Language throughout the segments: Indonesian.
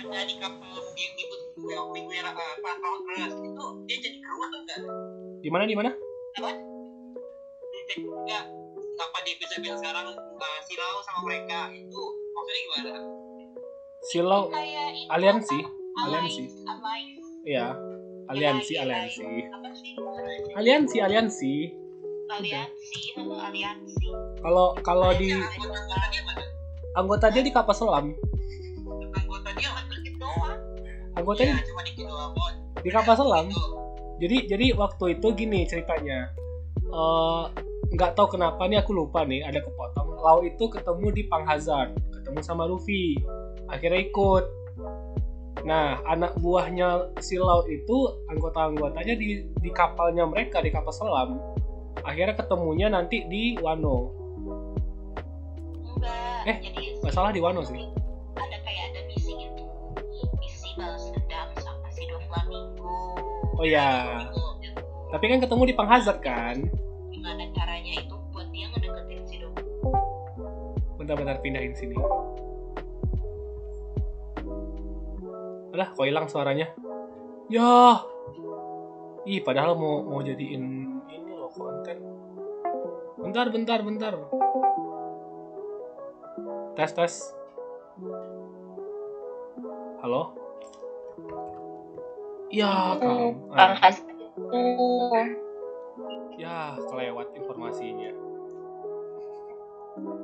menjadi kapal yang ikut Weoping Wera apa tahun keras itu dia jadi kru atau enggak? Di mana di mana? Apa? Dia jadi kru enggak? Apa dia bisa bilang sekarang uh, silau sama mereka itu maksudnya gimana? Silau Kayak ini aliansi, apa? aliansi. Alliance. ya. Aliansi, Alliance. aliansi. Apa sih? Aliansi, aliansi. Aliansi, atau aliansi. Kalau kalau di Ya, anggota anggota dia mana? anggota dia di kapal selam. Anggota dia mana? Dikit doang. Ya, Anggotanya cuma dikit doang Bon. di kapal selam. Itu. Jadi jadi waktu itu gini ceritanya. Eh, nggak tahu kenapa nih aku lupa nih ada kepotong. Lau itu ketemu di Pang Hazard, ketemu sama Luffy. Akhirnya ikut. Nah, anak buahnya si Lau itu anggota-anggotanya di di kapalnya mereka di kapal selam. Akhirnya ketemunya nanti di Wano. Enggak. Eh, Jadi nggak salah di Wano sih. ada kayak ada misi gitu. Misi balas dendam sama si Doflamingo. Oh ya. Tapi kan ketemu di Pang Hazard kan. Gimana caranya itu buat dia ngedeketin si Doflamingo? Bentar-bentar pindahin sini. Udah, kok hilang suaranya? Yah. Ih, padahal mau mau jadiin ini loh konten. Bentar, bentar, bentar. Tes, tes. Halo? Ya, kamu. Bang Hasan itu Ya, kelewat informasinya.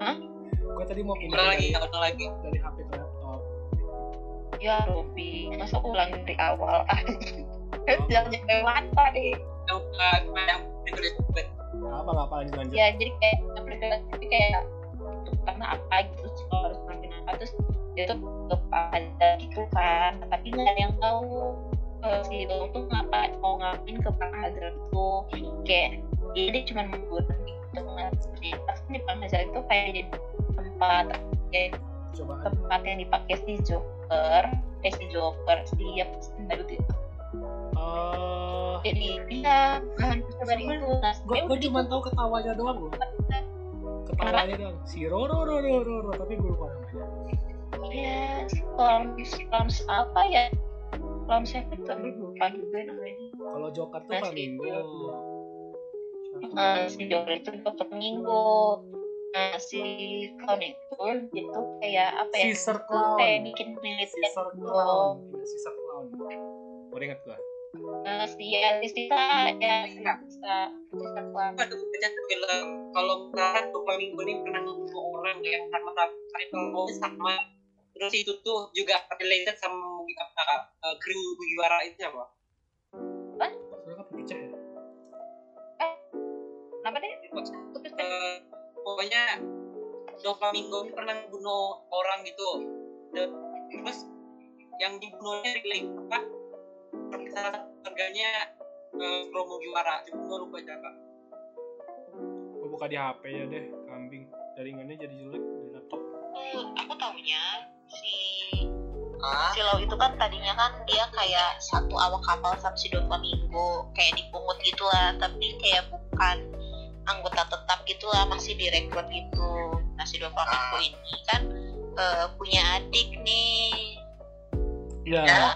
Hah? Gue tadi mau Ulang pindah lagi, dari, ulang lagi. dari HP ke laptop. ya Robi masa ulang dari awal Oh. ah jangan sampai mata deh Yang uh, yang itu dia. Apa nggak apa lanjut lanjut. ya jadi kayak perbedaan tapi kayak karena apa gitu terus kalau harus ngelakuin apa terus dia tuh kepada gitu kan tapi nggak ada yang tahu eh, si Dong tuh ngapain mau ngapain ke Bang Hazar itu kayak ya dia cuma membuat dengan terus di Bang Hazar itu kayak jadi tempat ya Coba kan. Eh, tempat yang dipakai si Joker eh si Joker si ya badut itu eh jadi dia bahan percobaan itu nah gue sebenarnya gue cuma tahu ketawanya doang loh. Ketawanya doang. Si Roro Roro Roro tapi gue lupa namanya. Iya, Clowns, Clowns apa ya? Clowns Seven tuh aduh, lupa juga namanya. Kalau Joker tuh ya. Ah, Nah, si Eh, Flamingo. si Joker itu dokter Minggu. Nah, si Clown itu gitu kayak apa ya? Caesar Itu Clown. Kayak bikin milit Caesar Clown. Iya, Caesar Clown. Baru ingat gue. Nah, si Alisa, ya, si Alisa, Alisa Clown. aduh baca film kalau sekarang tuh minggu ini pernah ngomong orang ya, yang sama sama title sama terus itu tuh juga related sama apa uh, kru Mugiwara itu apa Soalnya kan pecah ya. Kenapa deh? Putus deh. Eh, pokoknya Doflamingo ini pernah bunuh orang gitu Dan- terus yang dibunuhnya relate apa salah satu keluarganya eh, kru Mugiwara cuma gue lupa siapa Gue buka di HP ya deh. Kambing. Jaringannya jadi jelek di laptop. Tuh, aku taunya si ah Silau itu kan tadinya kan dia kayak satu awak kapal sama si Doflamingo kayak dipungut gitulah tapi kayak bukan anggota tetap gitulah masih direkrut gitu nah si Doflamingo ini kan eh, punya adik nih Ya, nah,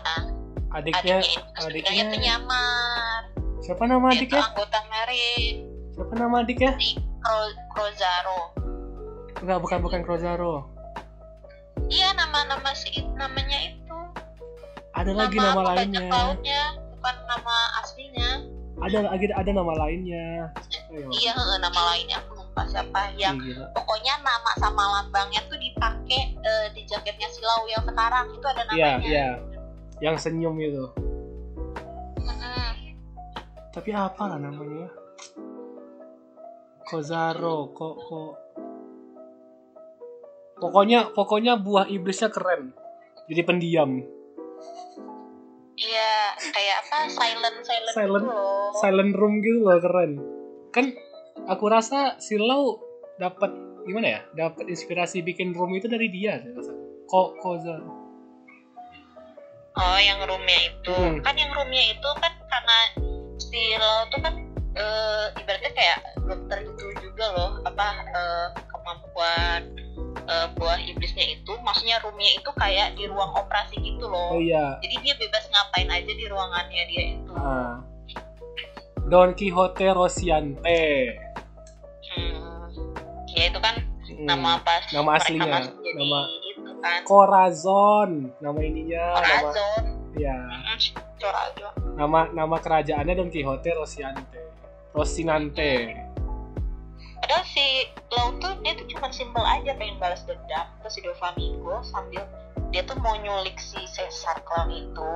adiknya adiknya itu sebenarnya adiknya- penyamar siapa nama dia tuh adiknya? anggota Marine Siapa nama adiknya? Cro- Crozaro Enggak, bukan bukan Crozaro. iya nama-nama si namanya itu Ada lagi nama apa, bajak lainnya. lautnya bukan nama aslinya Ada lagi ada nama lainnya. Siapa ya? Iya, heeh, nama lainnya aku lupa siapa. Iya. Yang Ih, gila. pokoknya nama sama lambangnya tuh dipakai eh, di jaketnya Silau yang sekarang itu ada Iya, namanya. iya. Yang senyum itu. Mm-mm. Tapi apa lah namanya? Kozaro, kok kok. Pokoknya pokoknya buah iblisnya keren. Jadi pendiam, Iya, kayak apa? Silent, silent, Silent. gitu loh. silent room gitu loh keren. Kan aku rasa Silau dapat gimana ya? Dapat inspirasi bikin room itu dari dia saya rasa. Kok Kozaro. Oh, yang roomnya itu. Hmm. Kan yang roomnya itu kan karena Silau tuh kan eh, ibaratnya kayak dokter gitu juga loh. Apa eh, kemampuan eh, buah iblisnya itu? Maksudnya rumahnya Rumia itu kayak di ruang operasi gitu oh loh iya jadi dia bebas ngapain aja di ruangannya dia itu Ah. Don Quixote Rosiante hmm. ya itu kan Hmm. nama pas Nama aslinya, mereka masuk jadi nama- itu kan Corazon nama ininya nama Corazon ya Hmm, Corazon nama nama kerajaannya Don Quixote Rosiante Rosinante padahal si Law tuh dia tuh cuma simbol aja pengen balas dendam ke si Doflamingo sambil dia tuh mau nyulik si Caesar Clown itu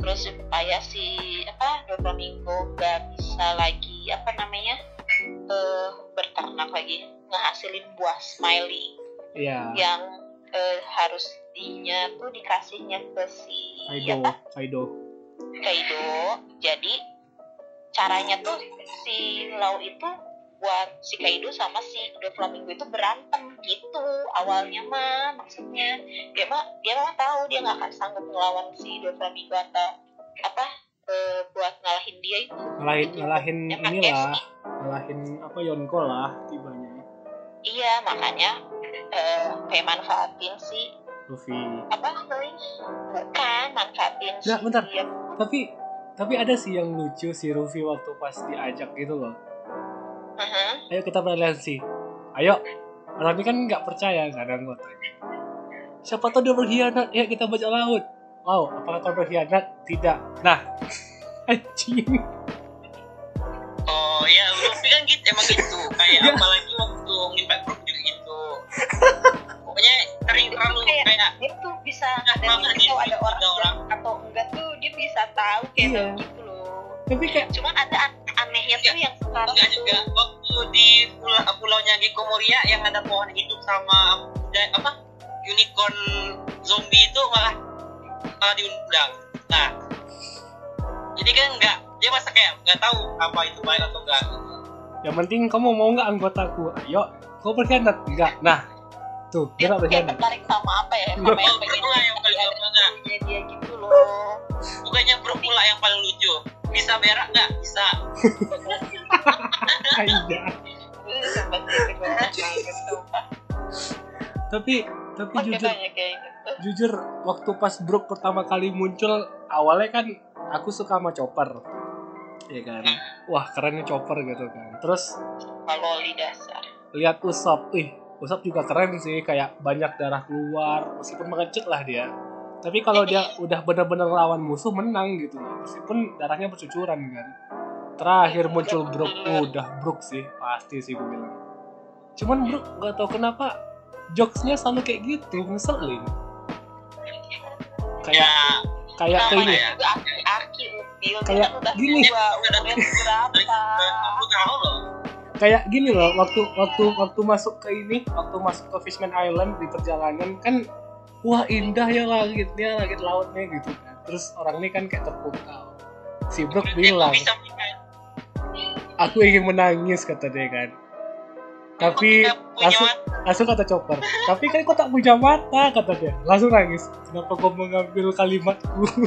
terus supaya si apa Doflamingo gak bisa lagi apa namanya eh, berternak lagi ngehasilin buah smiley ya yang eh, harus dinya tuh dikasihnya ke si Kaido apa Kaido Kaido. Jadi caranya tuh si Lau itu buat si Kaido sama si Doflamingo itu berantem gitu awalnya mah maksudnya dia mah dia mah tahu dia nggak akan sanggup ngelawan si Doflamingo atau apa eh, buat ngalahin dia itu ngalahin ngalahin Dia pakai inilah si- ngalahin apa Yonko lah tibanya iya makanya eh, kayak manfaatin si Luffy apa namanya bukan manfaatin Nggak, si bentar. dia tapi tapi ada sih yang lucu si Luffy waktu pas diajak gitu loh Aha. ayo kita beraliansi ayo orang ini kan nggak percaya kadang gue tanya siapa tahu dia berkhianat ya kita bajak laut wow apakah kau berkhianat tidak nah anjing Oh ya, Luffy kan gitu, emang gitu. Kayak Ya. apalagi waktu ngimpact group juga gitu. Pokoknya sering terlalu Kayak- kayak dia tuh bisa Nah, dari banget kalau nih, ada orang, ada orang. atau enggak tuh dia bisa tahu kayak Iya. gitu loh tapi kayak cuman ada an- anehnya tuh yang Iya. sekarang enggak tuh juga waktu di pulau pulaunya Gecko Moria yang ada pohon hidup sama da- apa unicorn zombie itu malah malah diundang. Nah, jadi kan enggak dia masa kayak nggak tahu apa itu baik atau enggak. yang penting kamu mau nggak anggotaku ayo kau berkhianat enggak nah tuh dia nggak dia tuh kayak berkhianat tertarik sama apa ya Bro sama yang pengen pula yang paling enggak. punya dia gitu loh Bukannya bro pula yang paling lucu. Bisa berak nggak? Bisa. Aida. Gue sampai sih gue banget sumpah tapi tapi Oke, jujur banyak kayak gitu jujur waktu pas Brook pertama kali muncul awalnya kan aku suka sama Chopper ya kan wah kerennya Chopper gitu kan terus kalau li dasar lihat Usop ih Usop juga keren sih kayak banyak darah keluar meskipun mengecut lah dia tapi kalau dia udah bener-bener lawan musuh menang gitu loh meskipun darahnya bercucuran kan terakhir muncul Brook udah Brook sih pasti sih gue bilang cuman Brook gak tau kenapa jokesnya selalu kayak gitu ngeselin Ya, kayak kayak ke kenapa ini ya? juga aki aki upil dia Kayak kan udah gini. tua umurnya berapa Aku tahu loh. kayak gini loh waktu waktu waktu masuk ke ini waktu masuk ke Fishman Island di perjalanan kan wah indah ya langitnya langit lautnya gitu kan terus orang ini kan kayak terpukau si Brook bilang Bisa meninggal. aku ingin menangis kata dia kan tapi Aku tidak punya langsung langsung kata Chopper tapi kan kau tak punya mata kata dia langsung nangis kenapa kau mengambil kalimatku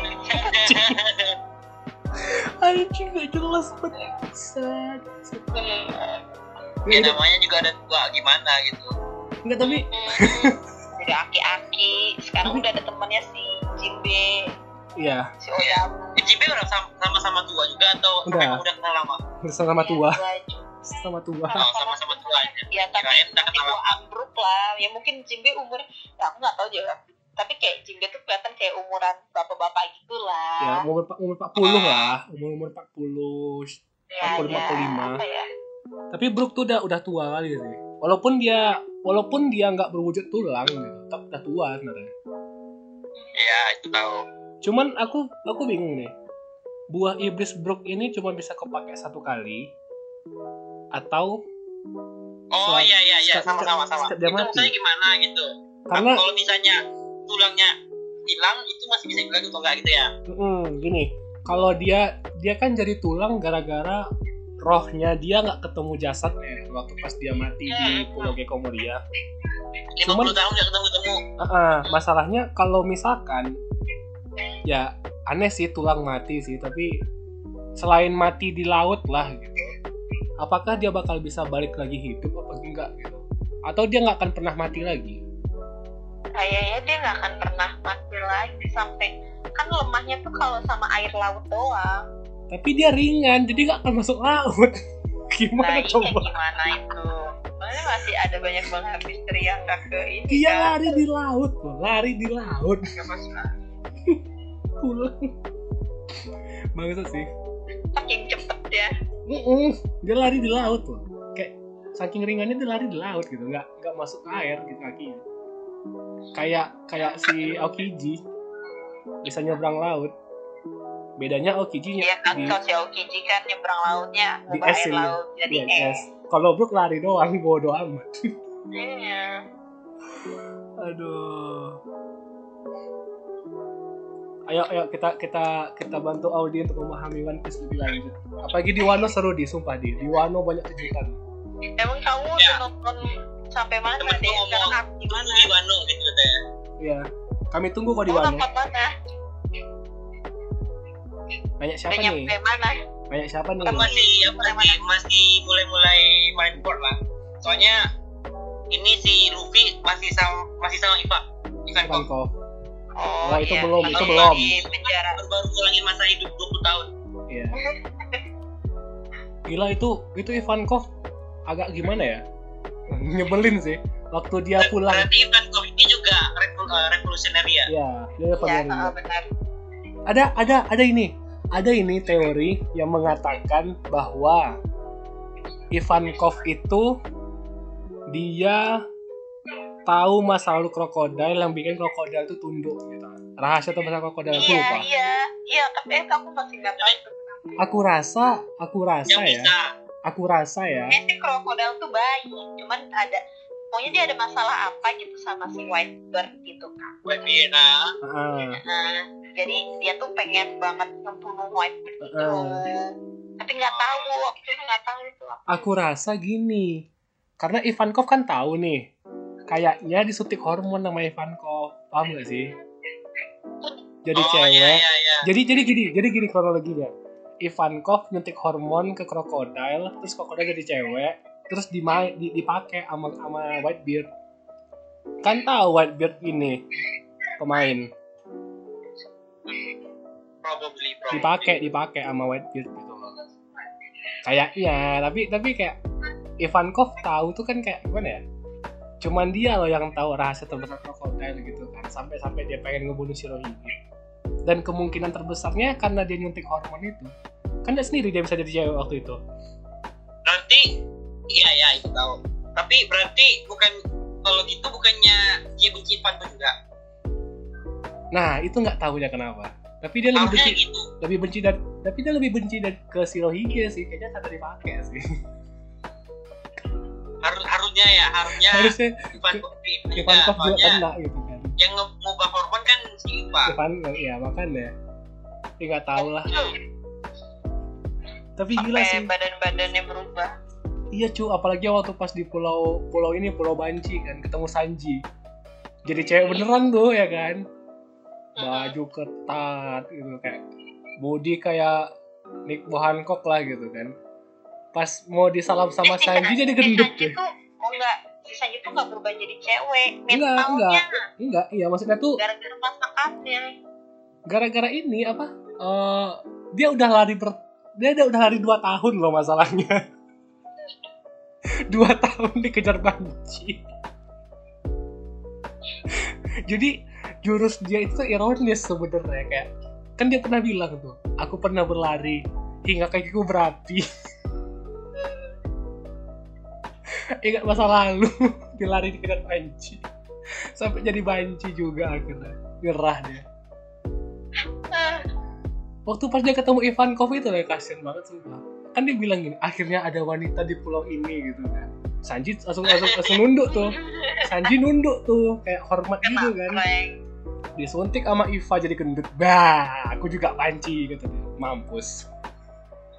mata. anjing gak jelas banget Sad. ya Nggak, namanya juga ada dua gimana gitu nggak, tapi Hmm, udah aki-aki sekarang udah ada temannya si Jimbe ya si Oyabu ICB Eh, udah sam- sama-sama tua juga atau Udah. memang udah kenal lama sama Iya, tua sama tua oh, sama-sama tua aja ya tapi Kirain udah tapi kenal. gua ambruk lah ya mungkin Jimbe umur ya, aku nggak tahu juga tapi kayak Jimbe tuh kelihatan kayak umuran bapak-bapak gitu ya gitulah umur umur 40 lah umur umur 40 ya, 40, 45. apa ya tapi Brook tuh udah udah tua kali sih walaupun dia walaupun dia nggak berwujud tulang gitu tetap udah tua sebenarnya ya itu tahu cuman aku aku bingung nih buah iblis Brook ini cuma bisa kepake satu kali atau oh Selain- iya iya iya setiap- sama-sama sama setiap itu dia mati. maksudnya gimana gitu karena kalau misalnya tulangnya hilang itu masih bisa bilang atau enggak gitu ya Mm, gini, kalau dia dia kan jadi tulang gara-gara rohnya dia nggak ketemu jasadnya waktu pas dia mati di Pulau Gecko Moria. 50 Cuman- tahun udah ketemu-ketemu Ah, ah, masalahnya kalau misalkan ya aneh sih tulang mati sih, tapi selain mati di laut lah gitu. Apakah dia bakal bisa balik lagi hidup apa enggak gitu? Atau dia nggak akan pernah mati lagi? kayaknya dia nggak akan pernah mati lagi sampai kan lemahnya tuh kalau sama air laut doang Tapi dia ringan, jadi nggak akan masuk laut. nah Gimana iya coba? gimana itu Soalnya masih ada banyak banget misteri yang gak ke ini Dia kan. lari di laut, loh. lari di laut. Nggak masuk. Pulang. Bagus sih. Saking cepet ya Mm-mm. Dia lari di laut loh. Kayak saking ringannya dia lari di laut gitu, nggak nggak masuk ke air gitu kakinya. Kayak kayak si Aokiji bisa nyebrang laut. Bedanya Aokiji Iya nya kan di, kalau si Aokiji kan nyebrang lautnya Di ngubah es air ini. laut jadi di es. es. ya, Kalau Brook lari doang bodo amat. Iya. Aduh. Ayo, ayo kita kita kita bantu Audi untuk memahami One Piece lebih lanjut. Apalagi di Wano seru di, sumpah di. Di Wano banyak kejutan. Emang kamu Ya. udah nonton sampai mana Temen deh? gua ngomong. Sekarang aku gimana? di Wano gitu katanya Iya. Kami tunggu kok di Kamu Wano. Oh, nonton mana? Banyak Udah siapa nih? nyampe mana? Banyak siapa nih? kan masih apa lagi masih mulai-mulai main board lah soalnya ini si Luffy masih sama masih sama Iva Ivan Bukan Kong kau. Oh, Wah, itu iya. belum, Kalau itu di belum. penjara. baru baru ngulangin masa hidup 20 tahun Iya. Gila itu itu Ivankov agak gimana ya? Nyebelin sih. Waktu dia pulang. berarti Ivan Kong ini juga revol- eh, revolutionary ya Iya, dia Ya, Valerian. oh, benar. Ada ada ada ini. Ada ini teori yang mengatakan bahwa Ivankov itu dia tahu masa lalu krokodil yang bikin krokodil itu tunduk gitu. Rahasia tentang krokodil aku Iya, Ya, lupa. iya. Iya, tapi itu aku masih nggak tahu. itu kenapa. Aku rasa, aku rasa ya, yang bisa aku rasa ya. Kayaknya si krokodil tuh baik, cuman ada Pokoknya dia ada masalah apa gitu sama si Whitebird gitu kan. Webina Ah, Nah, jadi dia tuh pengen banget ngebunuh Whitebird itu. Heeh. Tapi nggak tahu waktu itu nggak tahu itu apa. aku rasa gini. Karena Ivankov kan tahu nih. Kayaknya disuntik hormon sama Ivankov. Paham gak sih? Jadi oh cewek. iya iya iya Jadi jadi gini, jadi gini kronologinya. Ivankov nyuntik hormon ke krokodil, terus krokodil jadi cewek, terus dima- di, dipakai sama sama Whitebeard. Kan tahu Whitebeard ini pemain, probably probably dipakai dipakai sama Whitebeard gitu loh. Kayaknya, tapi tapi kayak Ivankov tahu tuh kan kayak gimana ya? Cuman dia loh yang tahu rahasia terbesar krokodil gitu kan, sampai-sampai dia pengen ngebunuh Shirohige. Dan kemungkinan terbesarnya karena dia nyuntik hormon itu. Kan dia sendiri dia bisa jadi cewek waktu itu. berarti iya iya itu tahu tapi berarti bukan kalau gitu bukannya dia benci Ivan Kong juga Nah, itu nggak tahunya kenapa. Tapi dia lebih harusnya benci, gitu lebih benci dan tapi dia lebih benci dan ke Shirohige sih. Kayaknya kata dipakai sih. harus harusnya ya iya, harusnya Harusnya Ivan Kong Ivan Ivankov juga soalnya kena gitu kan. yang nge- ngubah hormon kan si Iva Ivan, ya makanya. Ya nggak tahu lah. Tapi gila Sampai sih. badan-badannya berubah. Iya cu, apalagi waktu pas di pulau pulau ini pulau Banci kan ketemu Sanji. Jadi cewek beneran tuh ya kan. Baju ketat gitu kayak body kayak Nick Bohancock lah gitu kan. Pas mau disalam sama Eh, si Sanji jadi Si gendut deh. Sanji tuh oh enggak, si Sanji tuh enggak berubah jadi cewek. Enggak, Mentalnya Enggak, iya maksudnya tuh gara-gara masakannya. gara-gara ini apa? eh, dia udah lari ber dia udah udah lari 2 tahun loh masalahnya. 2 tahun dikejar banci. Jadi jurus dia itu ironis sebenarnya kayak kan dia pernah bilang tuh, aku pernah berlari hingga kakiku berapi. Ingat masa lalu dia lari dikejar banci. Sampai jadi banci juga akhirnya. Nyerah dia Ah, waktu pas dia ketemu Ivan Kov itu lah kasian banget sumpah kan dia bilang gini akhirnya ada wanita di pulau ini gitu kan Sanji langsung langsung, langsung nunduk tuh Sanji nunduk tuh kayak hormat gitu kan Frank. disuntik sama Iva jadi gendut bah aku juga panci gitu dia. mampus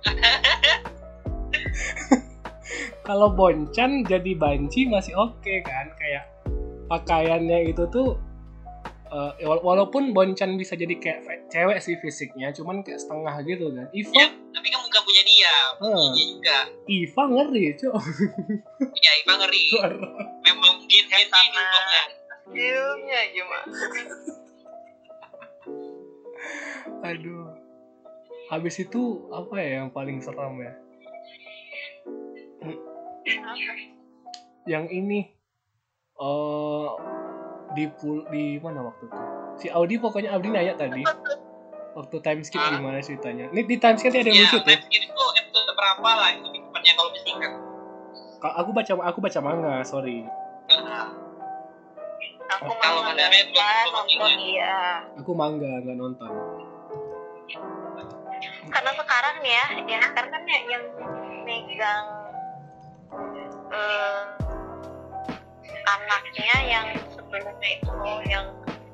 kalau Boncan jadi banci masih oke kan kayak pakaiannya itu tuh eh, wala- walaupun Boncan bisa jadi kayak fe- cewek sih fisiknya cuman kayak setengah gitu kan Iva ya tapi kamu gak punya dia punya eh, dia juga Iva ngeri cuy iya Iva ngeri memang mungkin dia Sama sih Ilmunya Iya, gimana? Aduh. Habis itu apa ya yang paling seram ya? Yang ini eh di pul di mana waktu itu? Si Audi pokoknya Audi nanya tadi waktu time skip Ah. gimana ceritanya? Ini di time skip ada Iya, yang Iya, Ya, lucu tuh. live skin itu episode berapa lah itu lebih tepatnya kalau lebih singkat. Ka- Aku baca aku baca manga, sorry. Aku Kalau mau ada red nonton, belum nonton iya. Aku manga nggak nonton. Karena sekarang nih ya, ya sekarang kan ya yang megang eh, anaknya yang sebelumnya itu yang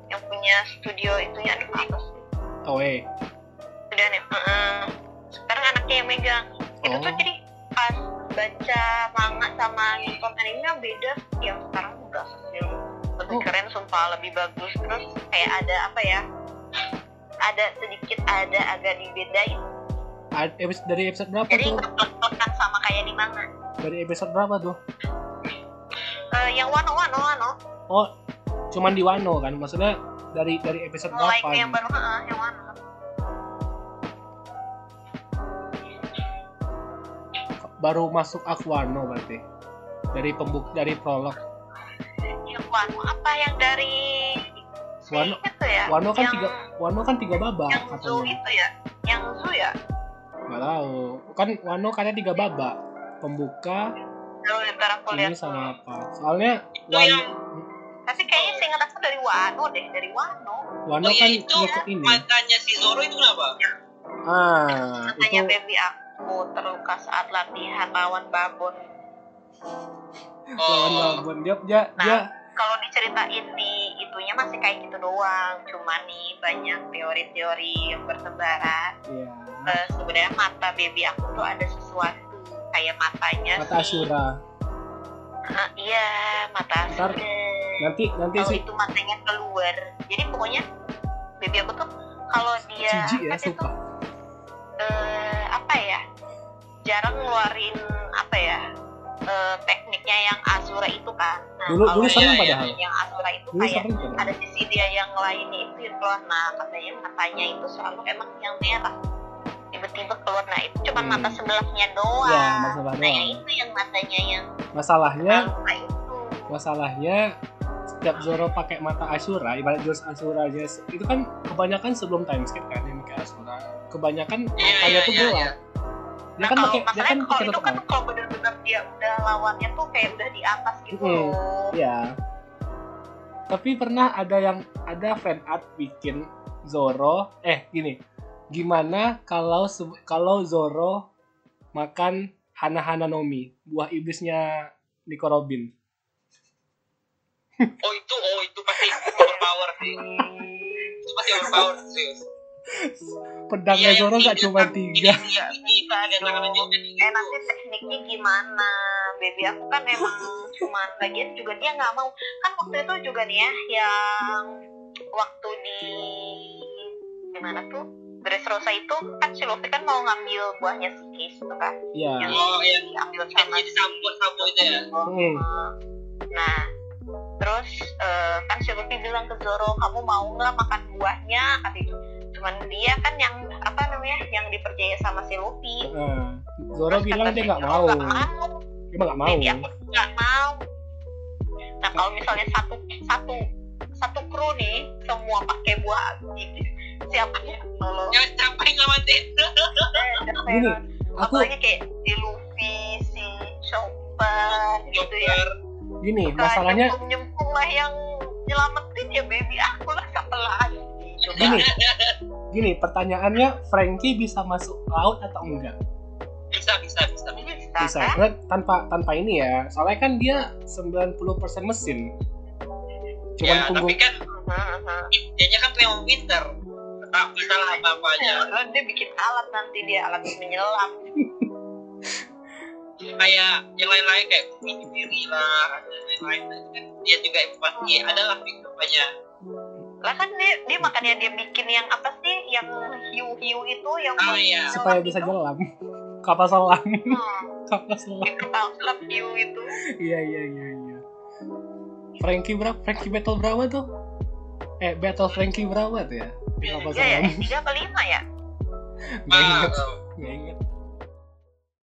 yang punya studio itunya aduh apa sih? Toei. Udah nih. heeh. Sekarang anaknya yang megang. Itu tuh Oh. jadi pas baca manga sama nonton animenya beda. Yang sekarang udah yang lebih Oh. keren sumpah lebih bagus terus kayak ada apa ya ada sedikit ada agak dibedain Ad- epis- dari episode berapa jadi tuh? ngeplek-plekan sama kayak di manga Dari episode berapa tuh? Eh, yang wano wano wano Cuman di Wano kan? Maksudnya dari dari episode mulai berapa? gitu. ke yang baru heeh, yang wano baru masuk Aquano berarti dari pembuk dari prolog yang wano apa yang dari Wano itu ya Wano kan yang, tiga Wano kan tiga babak yang zoo katanya itu ya yang zoo ya nggak tahu kan Wano katanya tiga babak pembuka Aduh, ntar aku lihat ini sama apa soalnya Itu yang Wano, tapi kayaknya seingat aku dari wano deh dari wano Wano oh iya, kan itu ya. ngikut ini matanya si Zoro itu kenapa? ah katanya itu baby aku terluka saat latihan lawan babon lawan Oh, lawan dia dia, Nah. dia kalau diceritain di itunya masih kayak gitu doang cuman nih banyak teori-teori yang bertebaran ya, Eh, sebenarnya mata baby aku tuh ada sesuatu kayak matanya kata sih. Ashura Ah, iya mata Ntar, Ashura nanti nanti kalau sih itu matanya keluar jadi pokoknya baby aku tuh kalau dia jijik ya kan dia tuh sumpah eh, apa ya jarang ngeluarin apa ya eh, tekniknya yang Azura itu kan nah, Dulu- kalau dulu sering yang- padahal. yang Azura itu dulu kayak sering kan Ah, iya. ada sisi dia yang lainnya itu yang keluar nah katanya matanya itu selalu emang yang merah tiba-tiba keluar nah itu cuma Hmm. mata sebelahnya doang ya masalah nah ya doang Ya. itu yang matanya yang masalahnya luka itu masalahnya setiap Zoro pakai mata Ashura ibarat jurus Ashura aja itu kan kebanyakan sebelum time skip kan yang pakai Ashura kebanyakan Iya, matanya iya, tuh iya, gelap iya. dia nah kan kalau pakai dia kan pakai masalahnya kalau itu tutup kan mata kalau bener-bener dia udah lawannya tuh kayak udah di atas gitu Mm-mm. loh ya tapi pernah ada yang ada fan art bikin Zoro eh gini gimana kalau se- kalau Zoro makan Hana-Hana Nomi buah iblisnya Nico Robin oh itu, oh itu pasti overpower sih. Itu pasti overpower serius. pedangnya Iya, Zoro yang nggak tiga, cuma kan? tiga Iya. Iya, ini ada tangan jawabnya tinggi. eh nanti tekniknya gimana baby aku kan emang cuman lagian juga dia nggak mau kan waktu itu juga nih ya yang waktu di gimana tuh Dressrosa itu kan si Luffy kan mau ngambil buahnya si Case itu kan ya Oh, iya. diambil Sama sama jadi sambut sambut itu ya. Hmm. nah terus eh, kan si Luffy bilang ke Zoro kamu mau nggak makan buahnya kata itu cuman dia kan yang apa namanya yang dipercaya sama si Luffy Nah, Zoro Terus bilang kata dia si nggak Zoro, mau "Nggak mau dia mah nggak mau Jadi aku nggak mau. Nah kalau misalnya satu satu satu kru nih semua pakai buah iblis siapa ya? yang mau? Jangan sampai nggak mati. gini aku Apalagi kayak si Luffy, si Chopper gitu ya. Joker. gini masalahnya nyempung lah yang nyelamatin ya baby aku lah siapa lagi? Coba. Gini. gini pertanyaannya Frankie bisa masuk laut atau enggak Bisa, bisa, bisa. Bisa, bisa kan? Karena tanpa tanpa ini ya soalnya kan dia 90% mesin cuman Iya, ya, punggung tapi kan Heeh, heeh. dianya kan memang pinter. Tak bisa lah bapaknya. Terus dia bikin alat nanti dia alat menyelam. Kayak yang lain-lain kayak Bumi Diri lah, ada lain-lain. Itu kan dia juga pasti ada lah bapaknya. lah kan dia, Hmm. dia makanya dia bikin yang apa sih yang hiu-hiu itu yang Oh, buat iya. nyelam supaya bisa itu. nyelam kapal selam Hmm, kapal selam yang kapal selam hiu itu iya iya iya iya Frankie berapa? Frankie battle berapa tuh? Eh, battle Frankie berapa tuh ya? Lupa Iya ya, salam. eh, tiga apa lima ya? Nggak Ah, inget, eh, nggak inget.